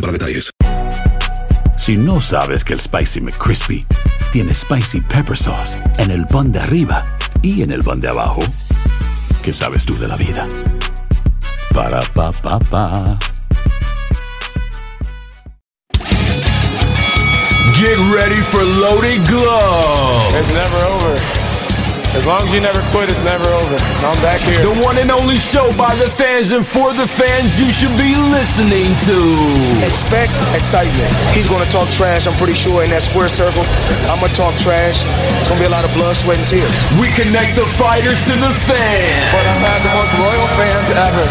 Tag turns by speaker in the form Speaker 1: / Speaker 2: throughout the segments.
Speaker 1: para detalles.
Speaker 2: Si no sabes que el Spicy McCrispy tiene Spicy Pepper Sauce en el pan de arriba y en el pan de abajo, ¿qué sabes tú de la vida? Para, pa, pa, pa.
Speaker 3: Get ready for Loaded Glove.
Speaker 4: It's never over. As long as you never quit, it's never over. I'm back here.
Speaker 3: The one and only show by the fans and for the fans you should be listening to.
Speaker 5: Expect excitement. He's going to talk trash, I'm pretty sure, in that square circle. I'm going to talk trash. It's going to be a lot of blood, sweat, and tears.
Speaker 3: We connect the fighters to the
Speaker 4: But
Speaker 3: fans.
Speaker 4: I've had the most loyal fans ever.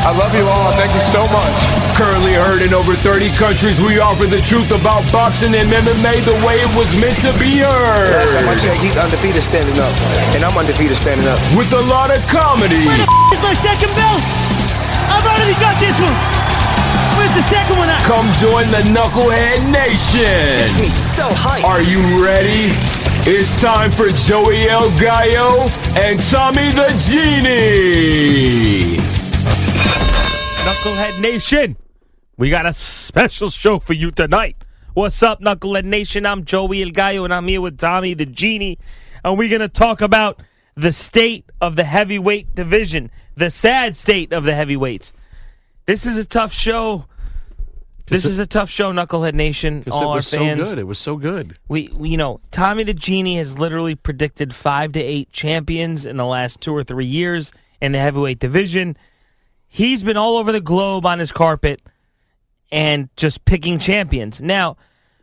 Speaker 4: I love you all. Thank you so much.
Speaker 3: Currently heard in over 30 countries, we offer the truth about boxing and MMA the way it was meant to be
Speaker 5: Last time I
Speaker 3: heard.
Speaker 5: checked, he's undefeated standing up. And I'm undefeated standing up.
Speaker 3: With a lot of comedy,
Speaker 6: It's my second belt. I've already got this one. Where's the second one at?
Speaker 3: come join the Knucklehead Nation.
Speaker 5: He's so hype.
Speaker 3: Are you ready? It's time for Joey El Gallo and Tommy the Genie.
Speaker 7: Knucklehead Nation, we got a special show for you tonight. What's up, Knucklehead Nation? I'm Joey El Gallo, and I'm here with Tommy the Genie, and we're going to talk about the state of the heavyweight division, the sad state of the heavyweights. This is a tough show. This is a tough show, Knucklehead Nation. All our fans.
Speaker 8: It was so good.
Speaker 7: We, we- you know, Tommy the Genie has literally predicted five to eight champions in the last two or three years in the heavyweight division. He's been all over the globe on his carpet and just picking champions. Now,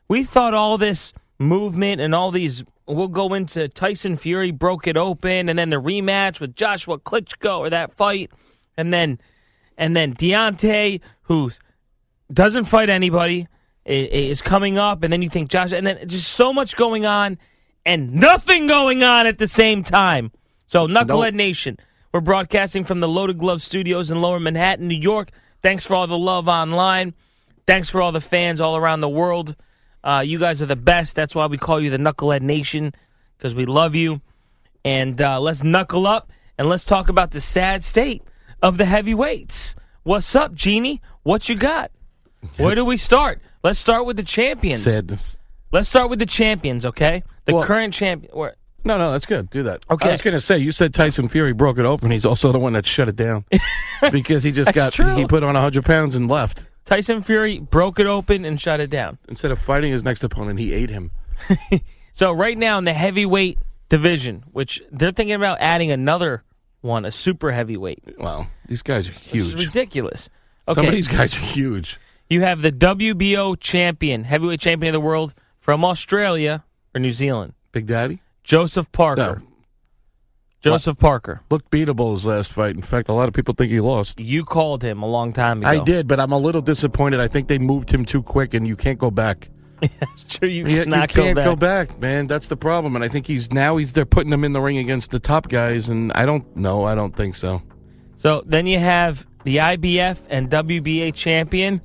Speaker 7: we thought all this movement and all these, we'll go into Tyson Fury broke it open, and then the rematch with Joshua Klitschko or that fight, and then, and then Deontay, who's doesn't fight anybody i- i- is coming up, and then you think Josh, and then just so much going on and nothing going on at the same time. So, Knucklehead Nation, we're broadcasting from the Loaded Glove Studios in Lower Manhattan, New York. Thanks for all the love online. Thanks for all the fans all around the world. Uh, you guys are the best. That's why we call you the Knucklehead Nation because we love you. And uh, let's knuckle up and let's talk about the sad state of the heavyweights. What's up, Genie? What you got? Where do we start? Let's start with the champions.
Speaker 8: Sadness.
Speaker 7: Let's start with the champions, okay? The
Speaker 8: Well-
Speaker 7: current champion. Where,
Speaker 8: No, no, that's good. Do that.
Speaker 7: Okay.
Speaker 8: I was going to say, you said Tyson Fury broke it open. He's also the one that shut it down because he just got
Speaker 7: That's true.
Speaker 8: he put on hundred pounds and left.
Speaker 7: Tyson Fury broke it open and shut it down.
Speaker 8: Instead of fighting his next opponent, he ate him.
Speaker 7: So right now in the heavyweight division, which they're thinking about adding another one, a super heavyweight.
Speaker 8: Wow, these guys are
Speaker 7: This is
Speaker 8: huge.
Speaker 7: ridiculous.
Speaker 8: Some
Speaker 7: Okay,
Speaker 8: of these guys are huge.
Speaker 7: you have the WBO champion, heavyweight champion of the world from Australia or New Zealand,
Speaker 8: Big Daddy
Speaker 7: Joseph Parker.
Speaker 8: No.
Speaker 7: Joseph Parker.
Speaker 8: looked beatable his last fight. In fact, a lot of people think he lost.
Speaker 7: You called him a long time ago.
Speaker 8: I did, but I'm a little disappointed. I think they moved him too quick, and you can't go back.
Speaker 7: Sure, you
Speaker 8: Yeah, you
Speaker 7: cannot
Speaker 8: can't
Speaker 7: go back.
Speaker 8: go back, man. That's the problem. And I think he's now he's they're putting him in the ring against the top guys, and I don't know. I don't think so.
Speaker 7: So then you have the IBF and WBA champion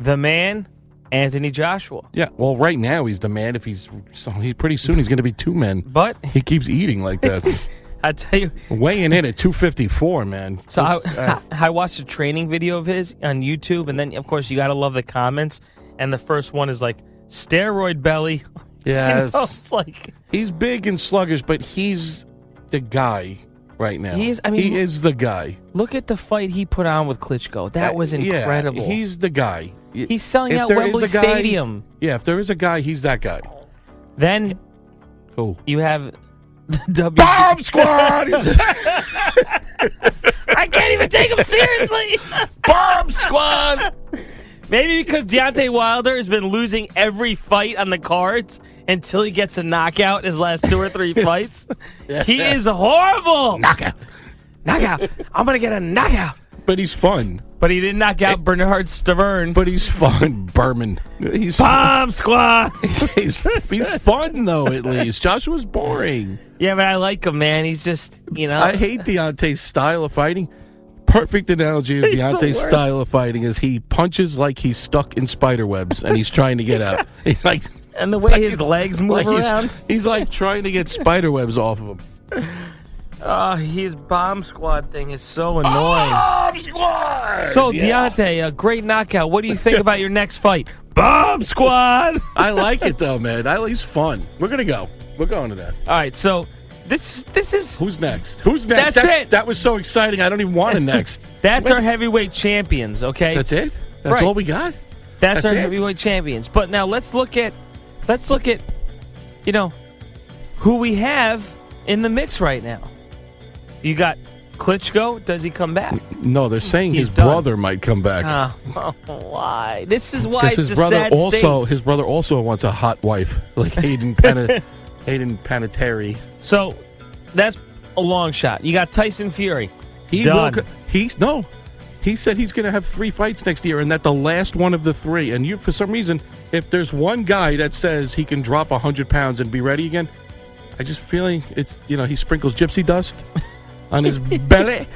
Speaker 7: the man, Anthony Joshua.
Speaker 8: Yeah, well, right now he's the man. If he's so he pretty soon he's going to be two men.
Speaker 7: But
Speaker 8: he keeps eating like that.
Speaker 7: I tell you,
Speaker 8: weighing in at two fifty four, man.
Speaker 7: So I, I, I watched a training video of his on YouTube, and then of course you got to love the comments. And the first one is like steroid belly.
Speaker 8: Yeah,
Speaker 7: You know, it's like
Speaker 8: he's big and sluggish, but he's the guy right now.
Speaker 7: He is- I mean,
Speaker 8: he is the guy.
Speaker 7: Look at the fight he put on with Klitschko. That was
Speaker 8: Uh, yeah,
Speaker 7: incredible.
Speaker 8: he's the guy. Y-
Speaker 7: He's selling
Speaker 8: if
Speaker 7: out
Speaker 8: there is
Speaker 7: Wembley
Speaker 8: a guy-
Speaker 7: Stadium.
Speaker 8: Yeah, if there is a guy, he's that guy.
Speaker 7: Then
Speaker 8: Cool.
Speaker 7: you have the W
Speaker 8: Bomb Squad!
Speaker 7: I can't even take him seriously.
Speaker 8: Bomb Squad.
Speaker 7: Maybe because Deontay Wilder has been losing every fight on the cards until he gets a knockout his last two or three fights. He is horrible. Knockout. Knockout. I'm going to get a knockout.
Speaker 8: But he's fun.
Speaker 7: But he did knock out Bernard Stavern.
Speaker 8: But he's fun, Berman. He's
Speaker 7: Bomb Squad.
Speaker 8: he's, he's fun though. At least Joshua's boring.
Speaker 7: Yeah, but I like him, man. He's just, you know.
Speaker 8: I hate Deontay's style of fighting. Perfect analogy of
Speaker 7: He's the
Speaker 8: Deontay's
Speaker 7: worst.
Speaker 8: style of fighting is he punches like he's stuck in spider webs and he's trying to get out. He's like
Speaker 7: and the way his legs move
Speaker 8: like he's-
Speaker 7: around.
Speaker 8: He's, like trying to get spider webs off of him.
Speaker 7: Oh, his bomb squad thing is so annoying.
Speaker 8: Ah! Um,
Speaker 7: So Deontay, a great knockout. What do you think about your next fight? Bomb squad.
Speaker 8: I like it though, man. I he's fun. We're gonna go. We're going to that.
Speaker 7: All right, so this this is
Speaker 8: Who's next? Who's next?
Speaker 7: That's it.
Speaker 8: That was so exciting. I don't even want a next.
Speaker 7: that's our heavyweight champions. Okay,
Speaker 8: That's it. That's
Speaker 7: Right.
Speaker 8: all we got.
Speaker 7: That's,
Speaker 8: That's
Speaker 7: our
Speaker 8: it.
Speaker 7: heavyweight champions. But now let's look at let's look at you know who we have in the mix right now. You got Klitschko. Does he come back?
Speaker 8: No, they're saying
Speaker 7: He's
Speaker 8: his
Speaker 7: done.
Speaker 8: brother might come back.
Speaker 7: Oh, why? This is why
Speaker 8: Because
Speaker 7: it's
Speaker 8: his
Speaker 7: a
Speaker 8: brother
Speaker 7: sad
Speaker 8: also
Speaker 7: state.
Speaker 8: his brother also wants a hot wife like Hayden Pana, Hayden Panettiere.
Speaker 7: So that's a long shot. You got Tyson Fury.
Speaker 8: He
Speaker 7: Done.
Speaker 8: will. co- He's no. He said he's going to have three fights next year, and that the last one of the three. And you, for some reason, if there's one guy that says he can drop hundred pounds and be ready again, I just feeling it's you know he sprinkles gypsy dust on his belly.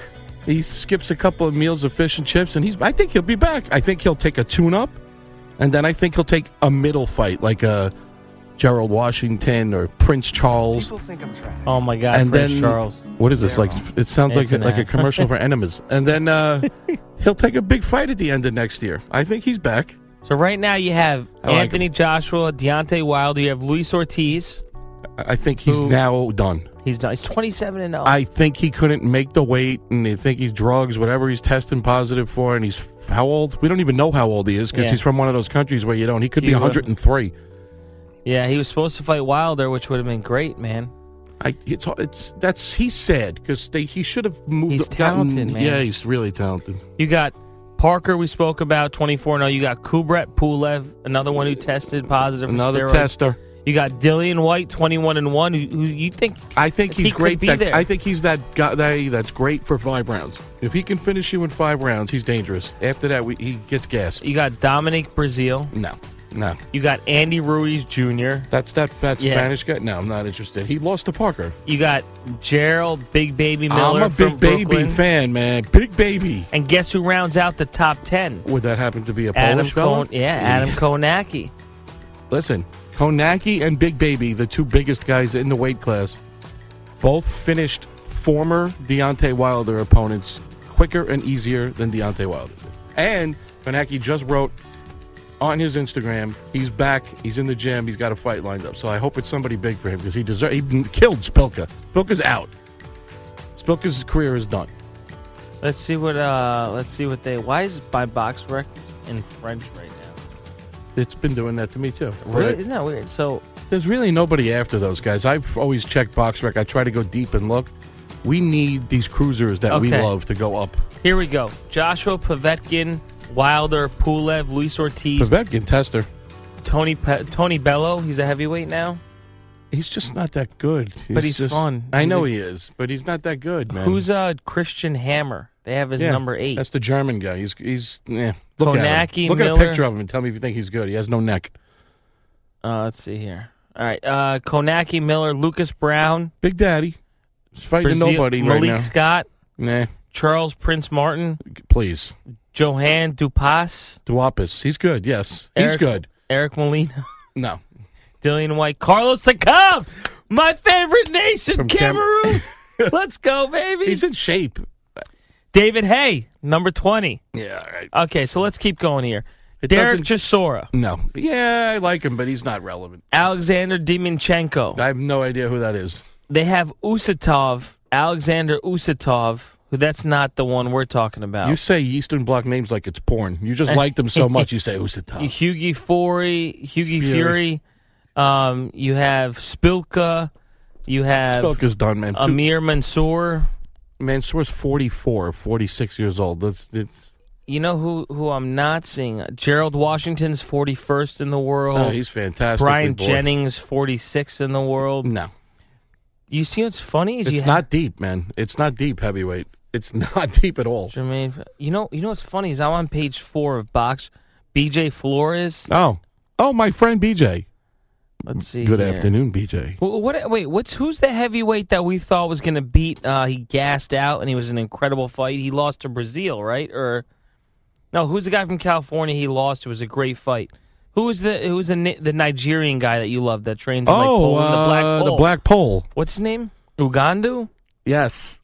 Speaker 8: He skips a couple of meals of fish and chips, and he's. I think he'll be back. I think he'll take a tune up, and then I think he'll take a middle fight like a Gerald Washington or Prince Charles
Speaker 9: think I'm trash.
Speaker 7: oh my God,
Speaker 8: and
Speaker 7: Prince
Speaker 8: then
Speaker 7: Charles.
Speaker 8: What is this like? It sounds like
Speaker 7: It's an
Speaker 8: like a
Speaker 7: ad.
Speaker 8: commercial for enemas. And then uh, he'll take a big fight at the end of next year. I think he's back.
Speaker 7: So right now you have
Speaker 8: I like
Speaker 7: Anthony Joshua, Deontay Wilder. You have Luis Ortiz.
Speaker 8: I I think he's
Speaker 7: Who-
Speaker 8: now done.
Speaker 7: He's done. He's twenty-seven and oh. zero.
Speaker 8: I think he couldn't make the weight, and they think he's drugs, whatever he's testing positive for, and he's f- how old? We don't even know how old he is because
Speaker 7: Yeah.
Speaker 8: he's from one of those countries where you don't. He could be
Speaker 7: Cuba.
Speaker 8: 103.
Speaker 7: yeah, he was supposed to fight Wilder, which would have been great, man.
Speaker 8: I, it's it's that's he's sad because they he should have moved.
Speaker 7: He's
Speaker 8: gotten-
Speaker 7: talented, man.
Speaker 8: Yeah, he's really talented.
Speaker 7: You got Parker. We spoke about twenty-four and zero. You got Kubrat Pulev, another one who tested positive. for
Speaker 8: Another
Speaker 7: steroids.
Speaker 8: tester.
Speaker 7: You got Dillian White, twenty-one and one. Who, who you think?
Speaker 8: I think
Speaker 7: He
Speaker 8: he's
Speaker 7: could
Speaker 8: great.
Speaker 7: be
Speaker 8: That,
Speaker 7: there.
Speaker 8: I think he's that guy that- that's great for five rounds. If he can finish you in five rounds, he's dangerous. After that, we, he gets gassed.
Speaker 7: You got Dominic Brazil.
Speaker 8: No, no,
Speaker 7: You got Andy Ruiz Jr.
Speaker 8: that's that that
Speaker 7: Yeah.
Speaker 8: Spanish guy. No, I'm not interested. He lost to Parker.
Speaker 7: You got Gerald Big Baby Miller.
Speaker 8: I'm a
Speaker 7: from
Speaker 8: big baby
Speaker 7: Brooklyn.
Speaker 8: fan, man. Big baby.
Speaker 7: And guess who rounds out the top ten?
Speaker 8: Would that happen to be a
Speaker 7: Adam
Speaker 8: Polish fella?
Speaker 7: Kon- yeah, Adam Konaki.
Speaker 8: Listen, Konaki and Big Baby, the two biggest guys in the weight class, both finished former Deontay Wilder opponents quicker and easier than Deontay Wilder. did. And Konaki just wrote on his Instagram, he's back, he's in the gym, he's got a fight lined up. So I hope it's somebody big for him because he deserves. He killed Spilka. Spilka's out. Spilka's career is done.
Speaker 7: Let's see what uh let's see what they why is my box rec in French right now?
Speaker 8: It's been doing that to me too.
Speaker 7: Really? Isn't that weird? So
Speaker 8: There's really nobody after those guys. I've always checked BoxRec. I try to go deep and look. We need these cruisers that we
Speaker 7: Okay.
Speaker 8: love to go up.
Speaker 7: here we go. Joshua Pavetkin, Wilder, Pulev, Luis Ortiz,
Speaker 8: Pavetkin, Tester,
Speaker 7: Tony Pe- Tony Bello, he's a heavyweight now.
Speaker 8: he's just not that good.
Speaker 7: But he's
Speaker 8: just,
Speaker 7: fun.
Speaker 8: I
Speaker 7: He's
Speaker 8: know
Speaker 7: a-
Speaker 8: he is, but he's not that good, man.
Speaker 7: Who's uh Christian Hammer? They have his
Speaker 8: Yeah,
Speaker 7: number eight.
Speaker 8: That's the German guy. He's he's yeah. Look at
Speaker 7: Konaki,
Speaker 8: him. Look at
Speaker 7: Miller.
Speaker 8: a picture of him and tell me if you think he's good. He has no neck.
Speaker 7: Uh let's see here. All right. Uh Konaki Miller, Lucas Brown,
Speaker 8: Big Daddy. He's fighting
Speaker 7: Brazil-
Speaker 8: nobody
Speaker 7: Malik
Speaker 8: right
Speaker 7: Scott,
Speaker 8: now. Nah,
Speaker 7: Charles Prince Martin,
Speaker 8: please.
Speaker 7: Johan Dupas.
Speaker 8: Duapas. He's good, yes. He's
Speaker 7: Eric-
Speaker 8: good.
Speaker 7: Eric Molina.
Speaker 8: No.
Speaker 7: Dillian White. Carlos Takam. My favorite nation,
Speaker 8: From Cam-
Speaker 7: Cameroon. Let's go, baby.
Speaker 8: He's in shape.
Speaker 7: David Hay, number 20.
Speaker 8: Yeah, all right.
Speaker 7: Okay, so let's keep going here. Derek
Speaker 8: doesn't-
Speaker 7: Chisora.
Speaker 8: No. Yeah, I like him, but he's not relevant.
Speaker 7: Alexander Diminchenko.
Speaker 8: I have no idea who that is.
Speaker 7: They have Usatov, Alexander Usatov, who that's not the one we're talking about.
Speaker 8: You say Eastern Bloc names like it's porn. You just like them so much, you say, who's the top?
Speaker 7: Hughie Fury, Hughie
Speaker 8: Fury.
Speaker 7: Fury. Um, you have Spilka. You have
Speaker 8: Spelka's done, man. Two,
Speaker 7: Amir Mansour.
Speaker 8: Mansour's 44, 46 years old. That's it's.
Speaker 7: You know who who I'm not seeing? Gerald Washington's 41st in the world.
Speaker 8: Oh, he's fantastic.
Speaker 7: Brian
Speaker 8: good boy.
Speaker 7: Jennings 46th in the world.
Speaker 8: No,
Speaker 7: You see what's funny is
Speaker 8: Mm. it's
Speaker 7: you have
Speaker 8: not deep, man. It's not deep heavyweight. It's not deep at all.
Speaker 7: Jermaine. You know you know what's funny is I'm on page four of box. BJ Flores.
Speaker 8: Oh, oh, my friend BJ.
Speaker 7: Let's see.
Speaker 8: Good
Speaker 7: here.
Speaker 8: afternoon, BJ.
Speaker 7: Wh- What? Wait, what's who's the heavyweight that we thought was going to beat? Uh, he gassed out, and he was an incredible fight. He lost to Brazil, right? Or no? Who's the guy from California? He lost. It was a great fight. Who was the who was the Ni- the Nigerian guy that you love that trains in, like
Speaker 8: oh,
Speaker 7: Poland, the black
Speaker 8: uh,
Speaker 7: Pole?
Speaker 8: the Black Pole.
Speaker 7: What's his name? Ugandu.
Speaker 8: Yes.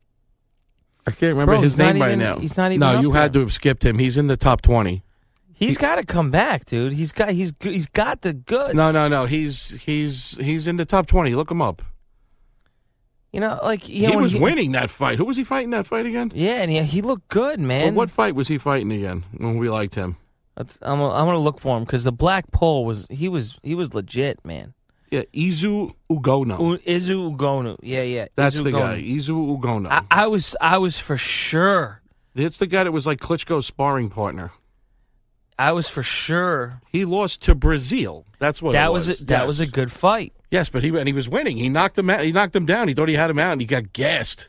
Speaker 8: I can't remember
Speaker 7: Bro,
Speaker 8: his
Speaker 7: he's not
Speaker 8: name right
Speaker 7: even-
Speaker 8: now.
Speaker 7: he's not even
Speaker 8: No,
Speaker 7: up
Speaker 8: you had to
Speaker 7: there.
Speaker 8: have skipped him. He's in the top twenty.
Speaker 7: He's got to come back, dude. He's got he's g- he's got the goods.
Speaker 8: No, no, no. He's he's he's in the top twenty. Look him up.
Speaker 7: You know, like you know,
Speaker 8: He
Speaker 7: when
Speaker 8: was winning that fight. Who was he fighting that fight again?
Speaker 7: Yeah, and he, he looked good,
Speaker 8: Well,
Speaker 7: man.
Speaker 8: what fight was he fighting again when we liked him?
Speaker 7: That's, I'm gonna- I'm gonna look for him because the Black Pole was he was he was legit, man.
Speaker 8: Yeah, Izu Ugono.
Speaker 7: U- Izu Ugonu. Yeah, yeah.
Speaker 8: Oh. That's
Speaker 7: Izu
Speaker 8: the
Speaker 7: Ugonu.
Speaker 8: guy. Izu Ugono.
Speaker 7: I, I was I was for sure.
Speaker 8: That's the guy that was like Klitschko's sparring partner.
Speaker 7: I was for sure.
Speaker 8: He lost to Brazil. That's what
Speaker 7: that
Speaker 8: it
Speaker 7: was
Speaker 8: was.
Speaker 7: a, that was a
Speaker 8: Yes.
Speaker 7: good fight.
Speaker 8: Yes, but he and he was winning. He knocked him out. He knocked him down. He thought he had him out, and he got gassed.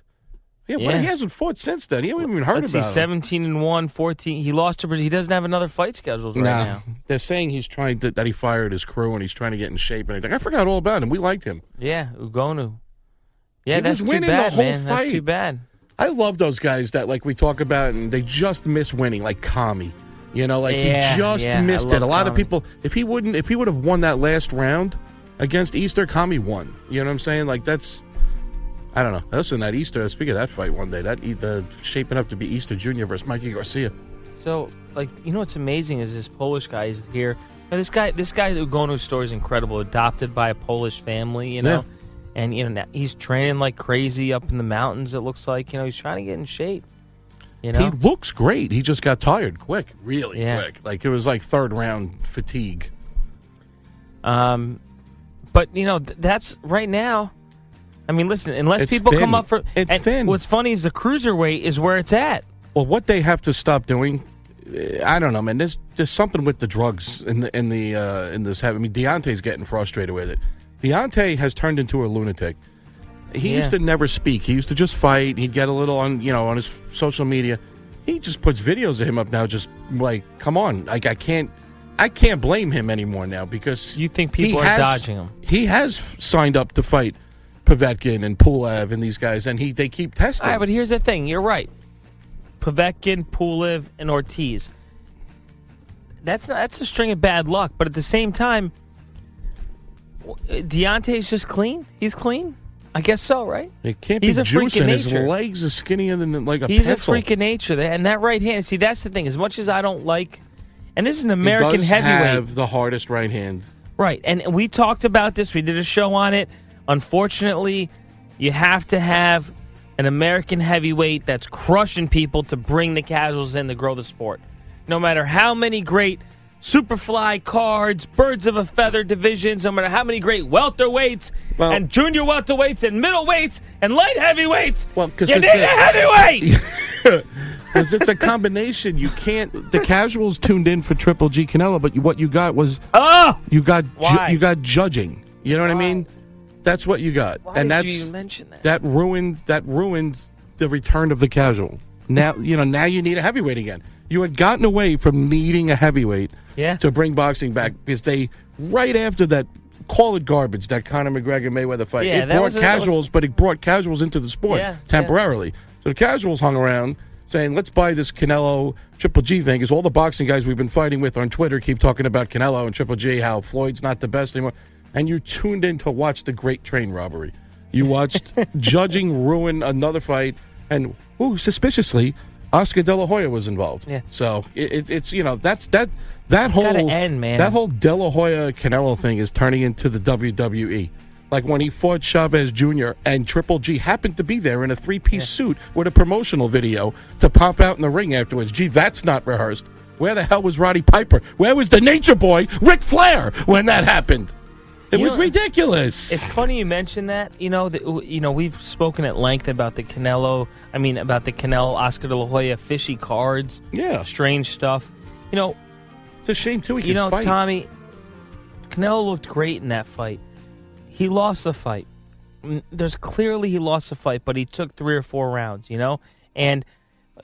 Speaker 8: Yeah, well,
Speaker 7: Yeah.
Speaker 8: he hasn't fought since then. He haven't even heard
Speaker 7: Let's see,
Speaker 8: about him.
Speaker 7: 17 and 1, 14. He lost to Brazil. He doesn't have another fight scheduled right
Speaker 8: Nah.
Speaker 7: now.
Speaker 8: they're saying he's trying to, that he fired his crew and he's trying to get in shape and everything. I forgot all about him. We liked him.
Speaker 7: Yeah, Ugonu. Yeah,
Speaker 8: He was
Speaker 7: that's too
Speaker 8: winning the
Speaker 7: bad,
Speaker 8: whole
Speaker 7: man. That's too
Speaker 8: fight.
Speaker 7: bad.
Speaker 8: I love those guys that like we talk about and they just miss winning, like Kami. You know, like
Speaker 7: Yeah,
Speaker 8: he just
Speaker 7: yeah, I
Speaker 8: missed it.
Speaker 7: love
Speaker 8: A lot of
Speaker 7: Kami.
Speaker 8: people, if he wouldn't, if he would have won that last round against Easter, Kami won. You know what I'm saying? Like that's, I don't know. Listen, that Easter. Speak of that fight one day. That e- the shaping up to be Easter Junior versus Mikey Garcia.
Speaker 7: So, like, you know what's amazing is this Polish guy is here. Now, this guy, this guy Ugonu's story is incredible. Adopted by a Polish family, you know, and you know now he's training like crazy up in the mountains. It looks like you know he's trying to get in shape. You know,
Speaker 8: He looks great. He just got tired quick, really
Speaker 7: Yeah.
Speaker 8: quick. Like it was like third round fatigue.
Speaker 7: um, but you know th- that's right now. I mean, listen, unless
Speaker 8: It's
Speaker 7: people
Speaker 8: thin.
Speaker 7: come up for
Speaker 8: It's
Speaker 7: and
Speaker 8: thin.
Speaker 7: What's funny is the cruiserweight is where it's at.
Speaker 8: Well, what they have to stop doing, eh, I don't know, man. There's there's something with the drugs in the in the uh, in this. hab- I mean, Deontay's getting frustrated with it. Deontay has turned into a lunatic. He
Speaker 7: Yeah.
Speaker 8: used to never speak. He used to just fight. He'd get a little on you know on his social media. He just puts videos of him up now. Just like, come on, like I can't. I can't blame him anymore now because
Speaker 7: You think
Speaker 8: he
Speaker 7: people are
Speaker 8: has-
Speaker 7: dodging him.
Speaker 8: He has f- signed up to fight Povetkin and Pulev and these guys, and he they keep testing.
Speaker 7: All right, but here's the thing. You're right. Povetkin, Pulev, and Ortiz. That's not, that's a string of bad luck, but at the same time, w- Deontay's just clean. He's clean. I guess so, right?
Speaker 8: It can't
Speaker 7: He's
Speaker 8: be
Speaker 7: a freak of
Speaker 8: juicing. His
Speaker 7: nature.
Speaker 8: legs are skinnier than like a
Speaker 7: He's a
Speaker 8: pencil.
Speaker 7: freak of nature, That- and that right hand. See, that's the thing. As much as I don't like, and this is an
Speaker 8: He
Speaker 7: American
Speaker 8: does
Speaker 7: heavyweight,
Speaker 8: Have the hardest right hand.
Speaker 7: Right. And and we talked about this. We did a show on it. Unfortunately, you have to have an American heavyweight that's crushing people to bring the casuals in to grow the sport. No matter how many great superfly cards, birds of a feather divisions, no matter how many great welterweights
Speaker 8: Well-
Speaker 7: and junior welterweights and middleweights and light heavyweights,
Speaker 8: Well, 'cause
Speaker 7: you need
Speaker 8: it's
Speaker 7: a
Speaker 8: a-
Speaker 7: heavyweight.
Speaker 8: Because it's a combination. You can't. The casuals tuned in for Triple G Canelo, but you, what you got was
Speaker 7: oh,
Speaker 8: you got
Speaker 7: Why?
Speaker 8: ju- you got judging. You know what I mean? That's what you got,
Speaker 7: why
Speaker 8: and
Speaker 7: did
Speaker 8: that's
Speaker 7: you mention that?
Speaker 8: that ruined that ruined the return of the casual. Now you know. Now you need a heavyweight again. You had gotten away from needing a heavyweight
Speaker 7: Yeah.
Speaker 8: to bring boxing back because they right after that call it garbage that Conor McGregor Mayweather fight.
Speaker 7: Yeah,
Speaker 8: it
Speaker 7: that
Speaker 8: brought
Speaker 7: was- that was-
Speaker 8: casuals, but it brought casuals into the sport
Speaker 7: Yeah, yeah.
Speaker 8: temporarily. So the casuals hung around. saying, let's buy this Canelo Triple G thing, because all the boxing guys we've been fighting with on Twitter keep talking about Canelo and Triple G, how Floyd's not the best anymore. And you tuned in to watch the great train robbery. You watched judging ruin another fight, and ooh, suspiciously, Oscar De La Hoya was involved.
Speaker 7: Yeah.
Speaker 8: So it, it, it's you know that's that that
Speaker 7: It's
Speaker 8: whole
Speaker 7: gotta end, man.
Speaker 8: that whole De La Hoya Canelo thing is turning into the WWE. Like when he fought Chavez Jr. and Triple G happened to be there in a three piece suit with a promotional video to pop out in the ring afterwards. Gee, that's not rehearsed. Where the hell was Roddy Piper? Where was the Nature Boy, Ric Flair, when that happened? It
Speaker 7: You
Speaker 8: was
Speaker 7: know-
Speaker 8: ridiculous.
Speaker 7: It's funny you mention that. You know, that you know we've spoken at length about the Canelo. I mean, about the Canelo Oscar De La Hoya fishy cards.
Speaker 8: Yeah.
Speaker 7: strange stuff. You know,
Speaker 8: it's a shame too.
Speaker 7: you
Speaker 8: can
Speaker 7: know,
Speaker 8: fight.
Speaker 7: Tommy, Canelo looked great in that fight. He lost the fight. Mm, There's clearly he lost the fight, but he took three or four rounds. You know, and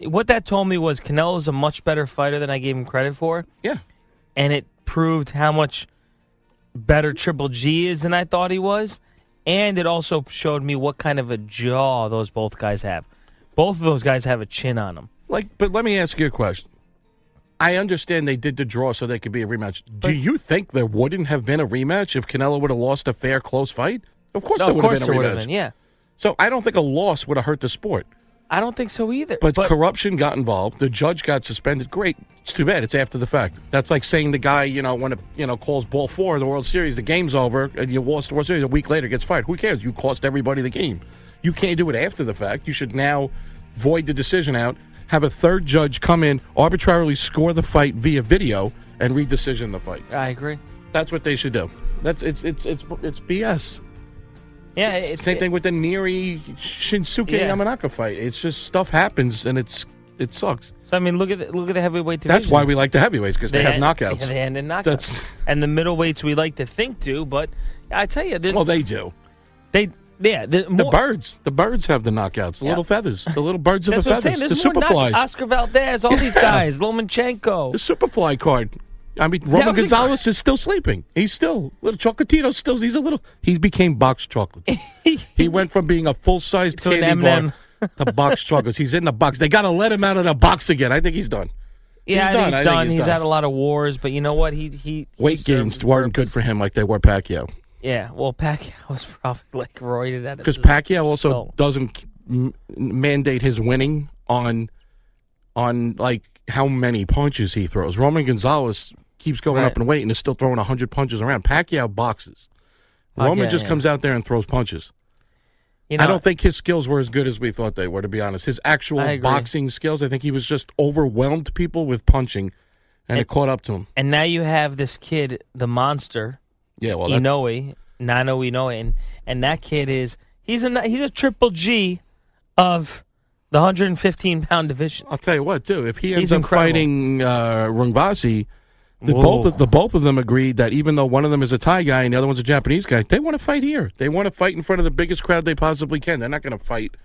Speaker 7: what that told me was Canelo's a much better fighter than I gave him credit for.
Speaker 8: Yeah,
Speaker 7: and it proved how much better Triple G is than I thought he was. And it also showed me what kind of a jaw those both guys have. Both of those guys have a chin on them.
Speaker 8: Like, but let me ask you a question. I understand they did the draw so there could be a rematch. Do you think there wouldn't have been a rematch if Canelo would have lost a fair, close fight? Of course,
Speaker 7: No,
Speaker 8: there
Speaker 7: of
Speaker 8: would have
Speaker 7: course
Speaker 8: been
Speaker 7: there
Speaker 8: a
Speaker 7: would
Speaker 8: rematch.
Speaker 7: have been, yeah.
Speaker 8: So I don't think a loss would have hurt the sport.
Speaker 7: I don't think so either.
Speaker 8: But, corruption got involved. The judge got suspended. Great. It's too bad. It's after the fact. That's like saying the guy, you know, when it, you know calls ball four of the World Series, the game's over, and you lost the World Series. A week later, gets fired. Who cares? You cost everybody the game. You can't do it after the fact. You should now void the decision out. Have a third judge come in, arbitrarily score the fight via video, and redecision the fight.
Speaker 7: I agree.
Speaker 8: That's what they should do. That's it's it's it's it's BS.
Speaker 7: Yeah, it's,
Speaker 8: Same thing with the Neri Shinsuke
Speaker 7: Yeah.
Speaker 8: Yamanaka fight. It's just stuff happens, and it's it sucks.
Speaker 7: So I mean, look at the, look at the heavyweight division.
Speaker 8: That's why we like the heavyweights because they, have
Speaker 7: end-
Speaker 8: knockouts.
Speaker 7: yeah, They end in knockouts.
Speaker 8: That's-
Speaker 7: and the middleweights we like to think do, but I tell you, this
Speaker 8: well, they do.
Speaker 7: they yeah the,
Speaker 8: The
Speaker 7: more,
Speaker 8: birds, the birds have the knockouts. The
Speaker 7: Yeah.
Speaker 8: little feathers, the little birds of
Speaker 7: That's
Speaker 8: the
Speaker 7: what I'm saying.
Speaker 8: feathers, the
Speaker 7: There's more knockouts.
Speaker 8: superflies,
Speaker 7: Oscar Valdez, all these
Speaker 8: Yeah.
Speaker 7: guys, Lomachenko.
Speaker 8: the superfly card. I mean,
Speaker 7: was
Speaker 8: Roman
Speaker 7: incredible.
Speaker 8: Gonzalez is still sleeping. He's still little chocolatito. Still, he's a little. He became box chocolate. he went from being a full sized
Speaker 7: To an
Speaker 8: candy
Speaker 7: M&M.
Speaker 8: bar to box chocolates. He's in the box. They got to let him out of the box again. I think he's done.
Speaker 7: Yeah,
Speaker 8: He's
Speaker 7: I think
Speaker 8: done. I
Speaker 7: he's
Speaker 8: think
Speaker 7: done.
Speaker 8: he's
Speaker 7: He's
Speaker 8: done.
Speaker 7: had a lot of wars, but you know what? He he
Speaker 8: Weight gains weren't good for him like they were Pacquiao.
Speaker 7: Yeah, well, Pacquiao was probably like roided at it
Speaker 8: because Pacquiao also doesn't m- mandate his winning on on like how many punches he throws. Roman Gonzalez keeps going
Speaker 7: Right.
Speaker 8: up in weight and is still throwing hundred punches around. Pacquiao boxes.
Speaker 7: Pacquiao,
Speaker 8: Roman just
Speaker 7: yeah.
Speaker 8: comes out there and throws punches.
Speaker 7: You know,
Speaker 8: I don't think his skills were as good as we thought they were. To be honest, his
Speaker 7: I
Speaker 8: actual
Speaker 7: agree.
Speaker 8: boxing skills. I think he was just overwhelmed people with punching, and it caught up to him.
Speaker 7: And now you have this kid, the monster,
Speaker 8: Yeah, well, that's,
Speaker 7: Inoue, Nano Inoue, and and that kid is he's a he's a triple G of the 115 pound division.
Speaker 8: I'll tell you what, too. If he
Speaker 7: He's
Speaker 8: ends up
Speaker 7: incredible.
Speaker 8: fighting uh, Rungvasi, the
Speaker 7: Whoa.
Speaker 8: both of, the both of them agreed that even though one of them is a Thai guy and the other one's a Japanese guy, they want to fight here. They want to fight in front of the biggest crowd they possibly can. They're not going to fight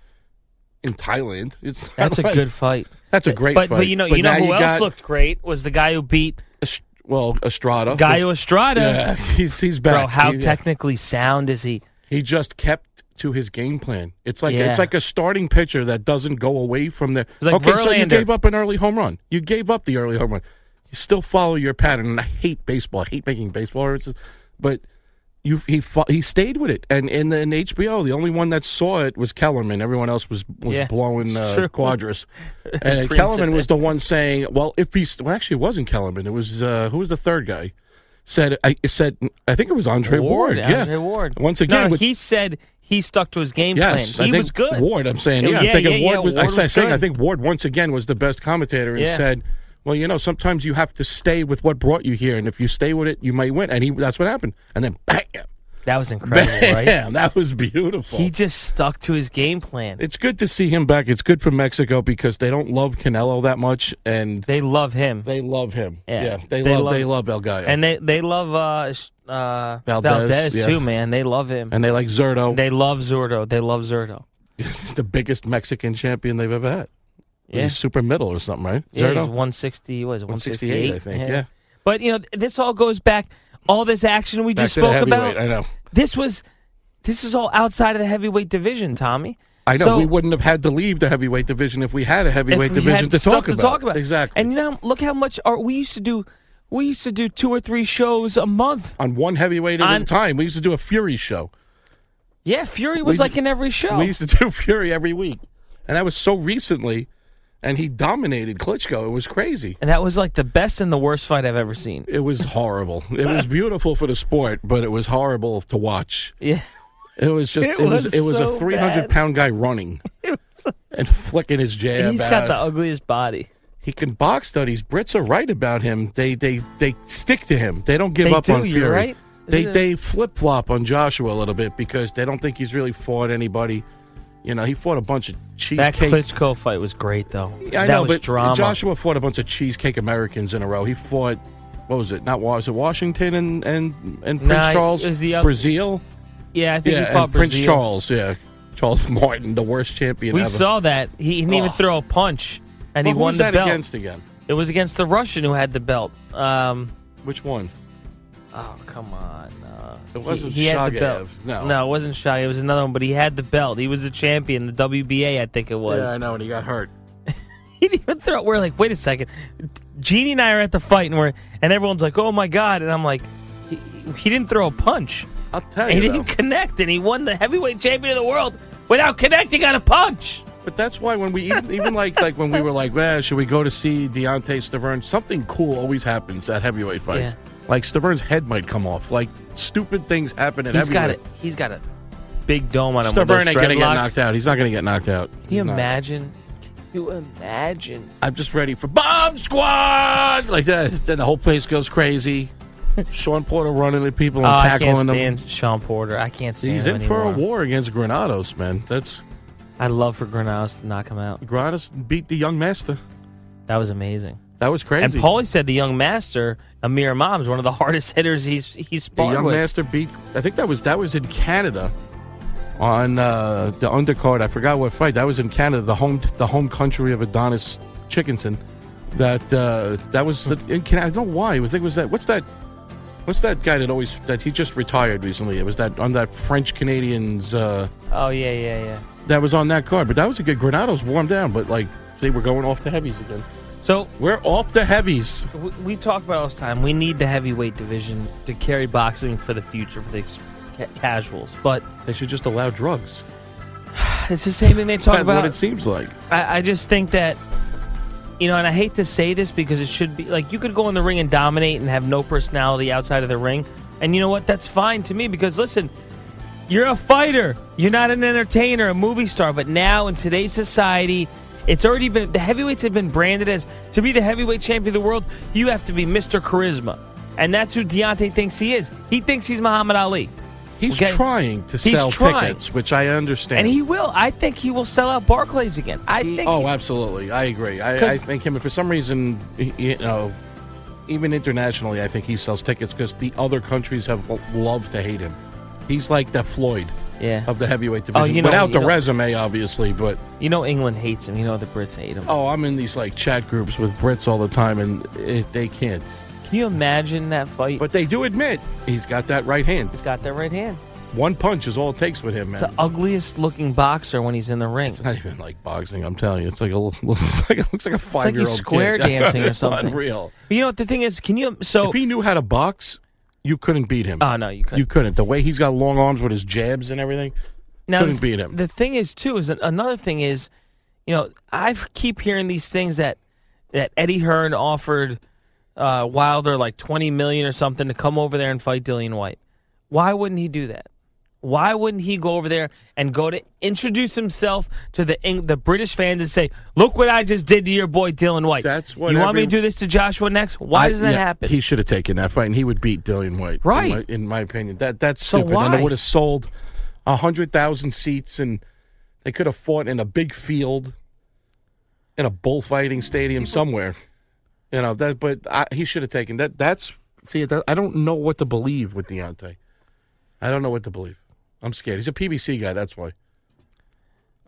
Speaker 8: in Thailand. It's not
Speaker 7: That's a
Speaker 8: like-
Speaker 7: good fight.
Speaker 8: That's a great
Speaker 7: but
Speaker 8: fight.
Speaker 7: but you know you know
Speaker 8: now
Speaker 7: who else
Speaker 8: got,
Speaker 7: looked great was the guy who beat
Speaker 8: Est- well Estrada.
Speaker 7: Gallo Estrada.
Speaker 8: Oh, Yeah, he's he's back.
Speaker 7: Bro, how
Speaker 8: He- yeah.
Speaker 7: technically sound is he?
Speaker 8: He just kept to his game plan. It's like
Speaker 7: Yeah.
Speaker 8: it's like a starting pitcher that doesn't go away from the.
Speaker 7: It's like
Speaker 8: okay, so you
Speaker 7: Verlander.
Speaker 8: gave up an early home run. You gave up the early home run. You still follow your pattern. And I hate baseball. I hate making baseball references, but you he fo- he stayed with it. And in the in HBO, the only one that saw it was Kellerman. Everyone else was was
Speaker 7: Yeah,
Speaker 8: blowing
Speaker 7: it's
Speaker 8: uh,
Speaker 7: true.
Speaker 8: quadras. And Kellerman was the one saying, "Well, if he's well, actually, it wasn't Kellerman. It was uh, who was the third guy." Said I it said I think it was Andre Ward. yeah,
Speaker 7: Andre Ward.
Speaker 8: Once again,
Speaker 7: No,
Speaker 8: with,
Speaker 7: he said he stuck to his game
Speaker 8: Yes,
Speaker 7: plan.
Speaker 8: I
Speaker 7: He
Speaker 8: think
Speaker 7: was good.
Speaker 8: Ward, I'm saying,
Speaker 7: Yeah,
Speaker 8: yeah,
Speaker 7: yeah,
Speaker 8: I'm thinking
Speaker 7: yeah,
Speaker 8: Ward.
Speaker 7: yeah,
Speaker 8: was,
Speaker 7: Ward
Speaker 8: I,
Speaker 7: was
Speaker 8: saying, I
Speaker 7: good.
Speaker 8: think Ward once again was the best commentator and
Speaker 7: Yeah.
Speaker 8: said, "Well, you know, sometimes you have to stay with what brought you here, and if you stay with it, you might win." And he, that's what happened. And then, bam,
Speaker 7: That was incredible, Oh, right?
Speaker 8: bam, that was beautiful.
Speaker 7: He just stuck to his game plan.
Speaker 8: it's good to see him back. It's good for Mexico because they don't love Canelo that much, and
Speaker 7: They love him.
Speaker 8: they love him.
Speaker 7: Yeah.
Speaker 8: they,
Speaker 7: They
Speaker 8: love,
Speaker 7: love-
Speaker 8: they love El Gallo,
Speaker 7: And they they love uh sh- uh
Speaker 8: Valdez,
Speaker 7: Valdez,
Speaker 8: yeah.
Speaker 7: too, man. They love him.
Speaker 8: And they like Zerto.
Speaker 7: They love Zurdo. They love Zurdo.
Speaker 8: He's the biggest Mexican champion they've ever had.
Speaker 7: Yeah.
Speaker 8: He's super middle or something, right?
Speaker 7: Yeah, he's
Speaker 8: Zurdo?
Speaker 7: 160, what is it,
Speaker 8: 168,
Speaker 7: 168?
Speaker 8: I think, yeah.
Speaker 7: But you know, th- this all goes back all this action we
Speaker 8: Back
Speaker 7: just
Speaker 8: to the
Speaker 7: spoke about.
Speaker 8: heavyweight, I know.
Speaker 7: This was this is all outside of the heavyweight division, Tommy.
Speaker 8: I know
Speaker 7: So-
Speaker 8: we wouldn't have had to leave the heavyweight division if we had a
Speaker 7: if
Speaker 8: heavyweight
Speaker 7: we
Speaker 8: division
Speaker 7: had
Speaker 8: to
Speaker 7: stuff
Speaker 8: talk,
Speaker 7: to
Speaker 8: about.
Speaker 7: talk about.
Speaker 8: Exactly.
Speaker 7: And you know, we how much are we used to do? We used to do two or three shows a month.
Speaker 8: On one heavyweight at
Speaker 7: On-
Speaker 8: a time. We used to do a Fury show.
Speaker 7: Yeah, Fury was
Speaker 8: We-
Speaker 7: like in every show.
Speaker 8: We used to do Fury every week. And that was so recently, and he dominated Klitschko. It was crazy.
Speaker 7: and that was like the best and the worst fight I've ever seen.
Speaker 8: It was horrible. it was beautiful for the sport, but it was horrible to watch.
Speaker 7: Yeah.
Speaker 8: It was just it,
Speaker 7: It
Speaker 8: was,
Speaker 7: was
Speaker 8: it was
Speaker 7: so
Speaker 8: a three hundred
Speaker 7: bad.
Speaker 8: pound guy running and flicking his jab.
Speaker 7: He's
Speaker 8: out.
Speaker 7: got the ugliest body.
Speaker 8: he can box though. These Brits are right about him. They they they stick to him. They don't give
Speaker 7: They
Speaker 8: up
Speaker 7: do,
Speaker 8: on
Speaker 7: you're
Speaker 8: Fury.
Speaker 7: right.
Speaker 8: They
Speaker 7: Yeah.
Speaker 8: they flip flop on Joshua a little bit because they don't think he's really fought anybody. You know, he fought a bunch of
Speaker 7: That
Speaker 8: cheesecake.
Speaker 7: Klitschko fight was great, though.
Speaker 8: I
Speaker 7: that
Speaker 8: know,
Speaker 7: was
Speaker 8: but
Speaker 7: drama.
Speaker 8: Joshua fought a bunch of cheesecake Americans in a row. He fought what was it? Not was it Washington and and and Prince
Speaker 7: Nah, it
Speaker 8: Charles?
Speaker 7: was the oth-
Speaker 8: Brazil?
Speaker 7: yeah, I think
Speaker 8: yeah,
Speaker 7: he fought
Speaker 8: and Prince
Speaker 7: Brazil.
Speaker 8: Charles. Yeah, Charles Martin, the worst champion.
Speaker 7: We
Speaker 8: ever.
Speaker 7: saw that he didn't even
Speaker 8: Oh.
Speaker 7: throw a punch,
Speaker 8: Well,
Speaker 7: and he
Speaker 8: who
Speaker 7: won
Speaker 8: was
Speaker 7: the
Speaker 8: that
Speaker 7: belt.
Speaker 8: against again?
Speaker 7: It was against the Russian who had the belt. Um,
Speaker 8: Which one?
Speaker 7: Oh come on! Uh,
Speaker 8: It wasn't
Speaker 7: he, he had the
Speaker 8: Shagayev,
Speaker 7: belt.
Speaker 8: no.
Speaker 7: no, it wasn't Shy. It was another one, but he had the belt. He was the champion, the WBA, I think it was.
Speaker 8: Yeah, I know, and he got hurt.
Speaker 7: He didn't even throw. We're like, wait a second. Genie and I are at the fight, and we're and everyone's like, oh my god, and I'm like, he, he didn't throw a punch.
Speaker 8: I'll tell
Speaker 7: He
Speaker 8: you.
Speaker 7: didn't
Speaker 8: though.
Speaker 7: connect, and he won the heavyweight champion of the world without connecting on a punch.
Speaker 8: But that's why when we even, even like like when we were like, well, should we go to see Deontay Stavern? Something cool always happens at heavyweight fights. Like Stavern's head might come off. Like stupid things happen at
Speaker 7: He's got
Speaker 8: heavyweight.
Speaker 7: it. He's got a big dome on him. with
Speaker 8: Stavern
Speaker 7: those
Speaker 8: ain't gonna get
Speaker 7: dreadlocks.
Speaker 8: knocked out. He's not gonna get knocked out.
Speaker 7: Can you
Speaker 8: He's not.
Speaker 7: imagine? Can you imagine?
Speaker 8: I'm just ready for Bomb Squad like that. Then the whole place goes crazy. Sean Porter running at people
Speaker 7: Oh,
Speaker 8: and
Speaker 7: I
Speaker 8: tackling
Speaker 7: can't
Speaker 8: them.
Speaker 7: stand Sean Porter. I can't stand
Speaker 8: He's
Speaker 7: him
Speaker 8: in for a
Speaker 7: anymore.
Speaker 8: war against Granados, man. That's
Speaker 7: I'd love for Granados to knock him out.
Speaker 8: Granados beat the young master.
Speaker 7: That was amazing.
Speaker 8: That was crazy.
Speaker 7: And Paulie said the young master Amir Imam is one of the hardest hitters he's he's
Speaker 8: The
Speaker 7: sparred
Speaker 8: young
Speaker 7: with.
Speaker 8: master beat. I think that was that was in Canada, on uh, the undercard. I forgot what fight that was in Canada, the home the home country of Adonis Chickinson. That uh, that was the, in Canada. I don't know why. I think it was that. What's that? What's that guy that always that he just retired recently? It was that on that French Canadians. Uh,
Speaker 7: Oh yeah, yeah, yeah.
Speaker 8: that was on that card, but that was a good. Granados warmed down, but like they were going off the heavies again.
Speaker 7: So
Speaker 8: We're off the heavies.
Speaker 7: we, we talk about all this time. We need the heavyweight division to carry boxing for the future for the ex- ca- casuals. But
Speaker 8: They should just allow drugs.
Speaker 7: it's the same thing they talk
Speaker 8: That's
Speaker 7: about.
Speaker 8: what it seems like.
Speaker 7: I, I just think that you know, and I hate to say this because it should be like you could go in the ring and dominate and have no personality outside of the ring, and you know what? That's fine to me because listen, you're a fighter. You're not an entertainer, a movie star. But now in today's society, it's already been the heavyweights have been branded as to be the heavyweight champion of the world. You have to be Mr. Charisma, and that's who Deontay thinks he is. He thinks he's Muhammad Ali.
Speaker 8: He's
Speaker 7: Okay?
Speaker 8: trying to
Speaker 7: He's
Speaker 8: sell
Speaker 7: trying.
Speaker 8: tickets, which I understand.
Speaker 7: And he will. I think he will sell out Barclays again. I think.
Speaker 8: oh,
Speaker 7: he-
Speaker 8: absolutely. I agree. I, I
Speaker 7: 'Cause-
Speaker 8: think him, and for some reason, y- you know, even internationally, I think he sells tickets because the other countries have lo- loved to hate him. He's like the Floyd
Speaker 7: yeah.
Speaker 8: of the heavyweight division,
Speaker 7: Oh, you know-
Speaker 8: without
Speaker 7: you
Speaker 8: the
Speaker 7: know-
Speaker 8: resume, obviously. But
Speaker 7: You know England hates him. You know the Brits hate him.
Speaker 8: oh, I'm in these like chat groups with Brits all the time, and it, they can't.
Speaker 7: Can you imagine that fight?
Speaker 8: But they do admit he's got that right hand.
Speaker 7: he's got that right hand.
Speaker 8: One punch is all it takes with him, man.
Speaker 7: It's the ugliest looking boxer when he's in the ring.
Speaker 8: It's not even like boxing. I'm telling you, it's like a little- looks like, it looks like a
Speaker 7: It's
Speaker 8: five
Speaker 7: like
Speaker 8: year
Speaker 7: he's
Speaker 8: old
Speaker 7: square
Speaker 8: kid.
Speaker 7: dancing or
Speaker 8: It's
Speaker 7: something.
Speaker 8: Unreal.
Speaker 7: But you know what the thing is? Can you so?
Speaker 8: if he knew how to box, you couldn't beat him.
Speaker 7: oh no, you couldn't.
Speaker 8: You couldn't. The way he's got long arms with his jabs and everything,
Speaker 7: Now,
Speaker 8: couldn't
Speaker 7: the-
Speaker 8: beat him.
Speaker 7: The thing is too is that another thing is, you know, I keep hearing these things that that Eddie Hearn offered uh, Wilder like twenty million or something to come over there and fight Dillian White. Why wouldn't he do that? Why wouldn't he go over there and go to introduce himself to the Eng- the British fans and say, "Look what I just did to your boy Dylan White."
Speaker 8: That's what
Speaker 7: you want me to
Speaker 8: every-
Speaker 7: do this to Joshua next. Why
Speaker 8: I-
Speaker 7: doesn't that
Speaker 8: yeah,
Speaker 7: happen?
Speaker 8: He should have taken that fight, and he would beat Dillian White.
Speaker 7: Right.
Speaker 8: In my, in my opinion, that that's
Speaker 7: So
Speaker 8: stupid. And
Speaker 7: why?
Speaker 8: it would have sold a hundred thousand seats, and they could have fought in a big field, in a bullfighting stadium somewhere. You know that, but I, he should have taken that. That's see, that, I don't know what to believe with Deontay. I don't know what to believe. I'm scared. He's a PBC guy. That's why.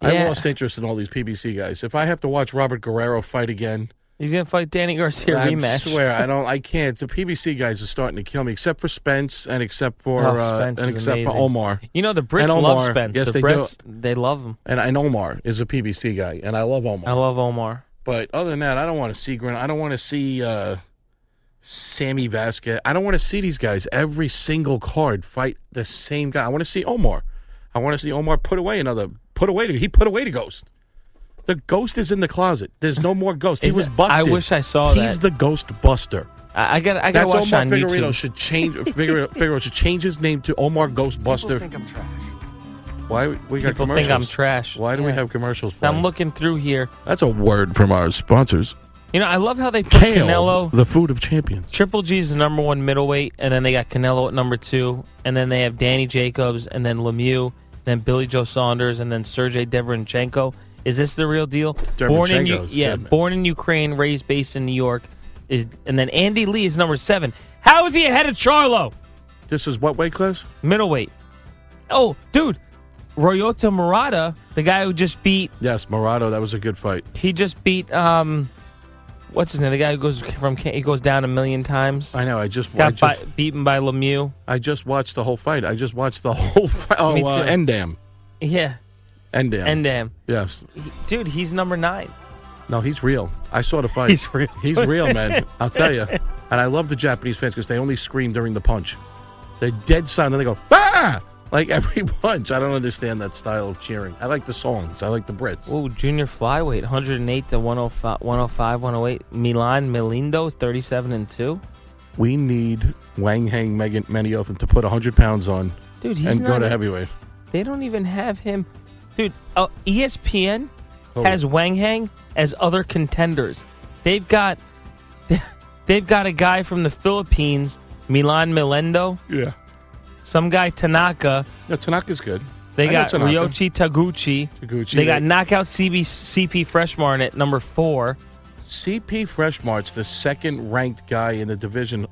Speaker 8: I
Speaker 7: Yeah.
Speaker 8: lost interest in all these PBC guys. If I have to watch Robert Guerrero fight again,
Speaker 7: He's gonna fight Danny Garcia
Speaker 8: I
Speaker 7: rematch.
Speaker 8: swear, I don't, I can't. The PBC guys are starting to kill me, except for Spence and except for
Speaker 7: Oh,
Speaker 8: uh, and
Speaker 7: Spence is
Speaker 8: except for
Speaker 7: amazing.
Speaker 8: Omar.
Speaker 7: You know, the Brits
Speaker 8: And
Speaker 7: love
Speaker 8: Omar.
Speaker 7: Spence.
Speaker 8: Yes,
Speaker 7: The
Speaker 8: they
Speaker 7: Brits,
Speaker 8: do.
Speaker 7: They love him.
Speaker 8: And, and Omar is a PBC guy, and I love Omar.
Speaker 7: I love Omar.
Speaker 8: But other than that, I don't want to see Grin. I don't want to see uh, Sammy Vasquez. I don't want to see these guys every single card fight the same guy. I want to see Omar. I want to see Omar put away another put away. To, he put away the ghost. The ghost is in the closet. There's no more ghost. He
Speaker 7: Is
Speaker 8: was
Speaker 7: it-
Speaker 8: busted.
Speaker 7: I wish I saw
Speaker 8: He's
Speaker 7: that.
Speaker 8: the ghost buster.
Speaker 7: I, I got. I got
Speaker 8: That's
Speaker 7: to watch
Speaker 8: Omar
Speaker 7: on
Speaker 8: Figueredo
Speaker 7: YouTube.
Speaker 8: should change. Figueredo, Figueredo should change his name to Omar Ghostbuster.
Speaker 5: I'm trash.
Speaker 8: Why we we got
Speaker 7: People
Speaker 8: commercials?
Speaker 7: think I'm trash.
Speaker 8: Why do we
Speaker 7: Yeah.
Speaker 8: have commercials? For
Speaker 7: I'm looking through here.
Speaker 8: That's a word from our sponsors.
Speaker 7: You know, I love how they put
Speaker 8: Kale,
Speaker 7: Canelo.
Speaker 8: the food of champions.
Speaker 7: Triple G is the number one middleweight, and then they got Canelo at number two, and then they have Danny Jacobs, and then Lemieux, then Billy Joe Saunders, and then Sergey Deverchenko. Is this the real deal? Born in U-
Speaker 8: Derevyanchenko's
Speaker 7: yeah,
Speaker 8: dead.
Speaker 7: born in Ukraine, raised based in New York, is and then Andy Lee is number seven. How is he ahead of Charlo?
Speaker 8: This is what weight class?
Speaker 7: Middleweight. Oh, dude, Royota Murata, the guy who just beat
Speaker 8: Yes, Morado. That was a good fight.
Speaker 7: he just beat um, what's his name? The guy who goes from he goes down a million times.
Speaker 8: I know. I just I
Speaker 7: Got
Speaker 8: just,
Speaker 7: bi- beaten by Lemieux.
Speaker 8: I just watched the whole fight. I just watched the whole fight. Oh,
Speaker 7: Me
Speaker 8: uh,
Speaker 7: too.
Speaker 8: Endam.
Speaker 7: Yeah,
Speaker 8: Endam.
Speaker 7: and damn,
Speaker 8: Yes.
Speaker 7: He- dude, he's number nine.
Speaker 8: No, he's real. I saw the fight.
Speaker 7: He's real.
Speaker 8: He's real, man. I'll tell you. And I love the Japanese fans because they only scream during the punch. They're dead silent. Then they go ah like every punch. I don't understand that style of cheering. I like the songs. I like the Brits.
Speaker 7: Oh, junior flyweight, 108 to 105, 105, 108. Milan Melindo, 37 and two.
Speaker 8: We need Wang Hang Megan Manioth to put 100 pounds on
Speaker 7: Dude, he's
Speaker 8: and go
Speaker 7: not
Speaker 8: to
Speaker 7: a-
Speaker 8: heavyweight.
Speaker 7: They don't even have him, dude. Uh, ESPN
Speaker 8: Oh.
Speaker 7: has Wang Hang as other contenders. They've got, they've got a guy from the Philippines, Milan Melendo,
Speaker 8: Yeah.
Speaker 7: some guy Tanaka.
Speaker 8: No, Tanaka's good.
Speaker 7: They
Speaker 8: I know
Speaker 7: got
Speaker 8: Tanaka.
Speaker 7: Ryochi Taguchi.
Speaker 8: Taguchi,
Speaker 7: They got
Speaker 8: they-
Speaker 7: knockout CB, CP Freshmarn at number four.
Speaker 8: CP Freshmart's the second ranked guy in the division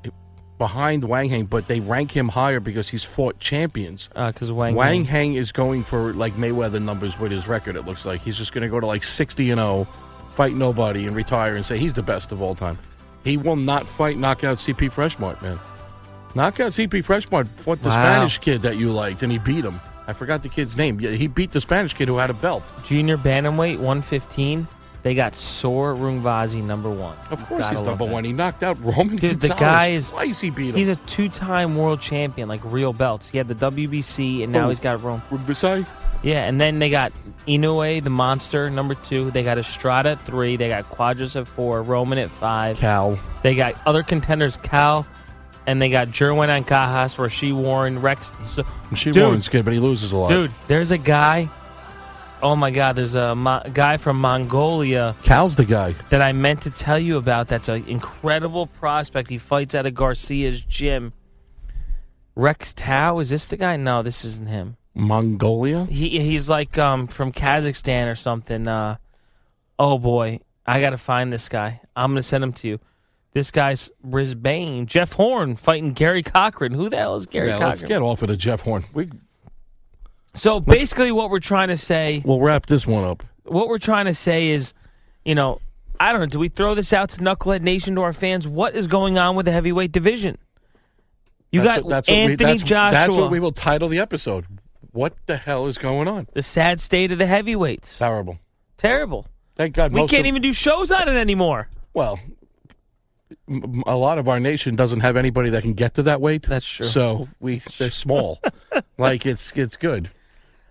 Speaker 8: behind Wang Hang, but they rank him higher because he's fought champions.
Speaker 7: Because uh, Wang,
Speaker 8: Wang
Speaker 7: Wang
Speaker 8: Hang is going for like Mayweather numbers with his record. It looks like he's just going to go to like sixty and zero, fight nobody, and retire and say he's the best of all time. He will not fight knockout CP Freshmart, man. Knockout CP Freshmart fought the
Speaker 7: Wow.
Speaker 8: Spanish kid that you liked, and he beat him. I forgot the kid's name. Yeah, he beat the Spanish kid who had a belt.
Speaker 7: Junior Bantamweight, 115. They got Sor Rungvazi, number one.
Speaker 8: Of
Speaker 7: You
Speaker 8: course,
Speaker 7: gotta
Speaker 8: he's
Speaker 7: love
Speaker 8: number
Speaker 7: that.
Speaker 8: one. He knocked out Roman
Speaker 7: Dude, the
Speaker 8: Gonzalez
Speaker 7: guy is-
Speaker 8: twice. He beat him.
Speaker 7: He's a two-time world champion, like real belts. He had the WBC, and now
Speaker 8: Oh.
Speaker 7: he's got Rome.
Speaker 8: Visay?
Speaker 7: Yeah, and then they got Inoue, the monster, number two. They got Estrada at three. They got Quadras at four. Roman at five.
Speaker 8: Cal.
Speaker 7: They got other contenders, Cal, and they got Jerwin Ancajas, Rasheed Warren, Rex. So-
Speaker 8: She
Speaker 7: Dude.
Speaker 8: Warren's good, but he loses a lot.
Speaker 7: Dude, there's a guy. Oh my God, there's a Mo- guy from Mongolia
Speaker 8: Cal's the guy.
Speaker 7: that I meant to tell you about. That's an incredible prospect. He fights out of Garcia's gym. Rex Tao, is this the guy? No, this isn't him.
Speaker 8: Mongolia?
Speaker 7: He he's like um from Kazakhstan or something. Uh, oh boy, I gotta find this guy. I'm gonna send him to you. This guy's Brisbane. Jeff Horn fighting Gary Cochran. Who the hell is Gary
Speaker 8: yeah, let's
Speaker 7: Cochran?
Speaker 8: get off of the Jeff Horn. We,
Speaker 7: so basically, what we're trying to say
Speaker 8: we'll wrap this one up.
Speaker 7: what we're trying to say is, you know, I don't know. Do we throw this out to Knucklehead Nation to our fans? What is going on with the heavyweight division? You
Speaker 8: That's
Speaker 7: got
Speaker 8: what- that's what we-
Speaker 7: Anthony
Speaker 8: that's-
Speaker 7: Joshua.
Speaker 8: That's what we will title the episode. What the hell is going on?
Speaker 7: the sad state of the heavyweights.
Speaker 8: Terrible.
Speaker 7: Terrible.
Speaker 8: Thank God.
Speaker 7: We
Speaker 8: most
Speaker 7: can't
Speaker 8: of-
Speaker 7: even do shows on it anymore.
Speaker 8: Well, m- m- a lot of our nation doesn't have anybody that can get to that weight.
Speaker 7: That's true.
Speaker 8: So we they're small. like it's it's good.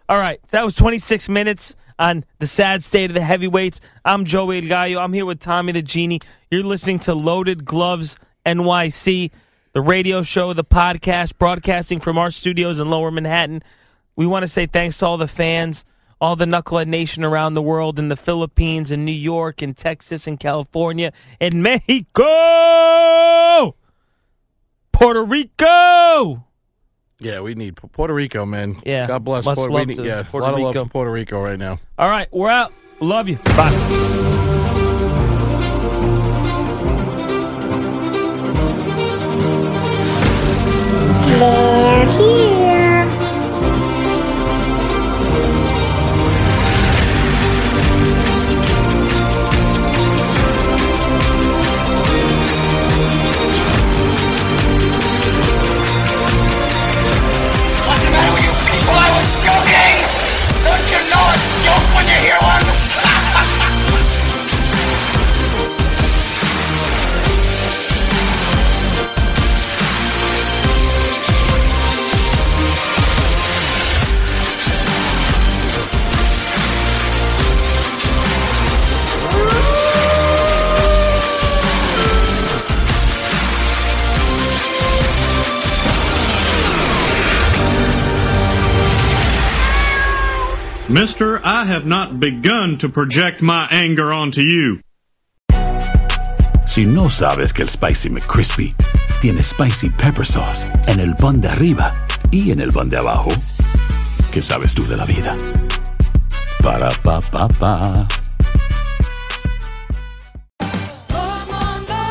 Speaker 7: All right, that was 26 minutes on the sad state of the heavyweights. I'm Joey Gallo. I'm here with Tommy the Genie. You're listening to Loaded Gloves NYC, the radio show, the podcast, broadcasting from our studios in Lower Manhattan. We want to say thanks to all the fans, all the Knucklehead Nation around the world, in the Philippines, in New York, in Texas, in California, in Mexico, Puerto Rico.
Speaker 8: Yeah, we need P- Puerto Rico, man.
Speaker 7: Yeah,
Speaker 8: God bless
Speaker 7: much
Speaker 8: Puerto
Speaker 7: love
Speaker 8: Rico.
Speaker 7: to
Speaker 8: Yeah,
Speaker 7: Puerto
Speaker 8: a lot of love
Speaker 7: Rico.
Speaker 8: to Puerto Rico right now.
Speaker 7: All right, we're out. Love you. Bye.
Speaker 10: Mister, I have not begun to project my anger onto you.
Speaker 2: Si no sabes que el Spicy McCrispy tiene Spicy Pepper Sauce en el pan de arriba y en el pan de abajo, ¿qué sabes tú de la vida? Para, pa, pa, pa.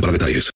Speaker 1: para detalles.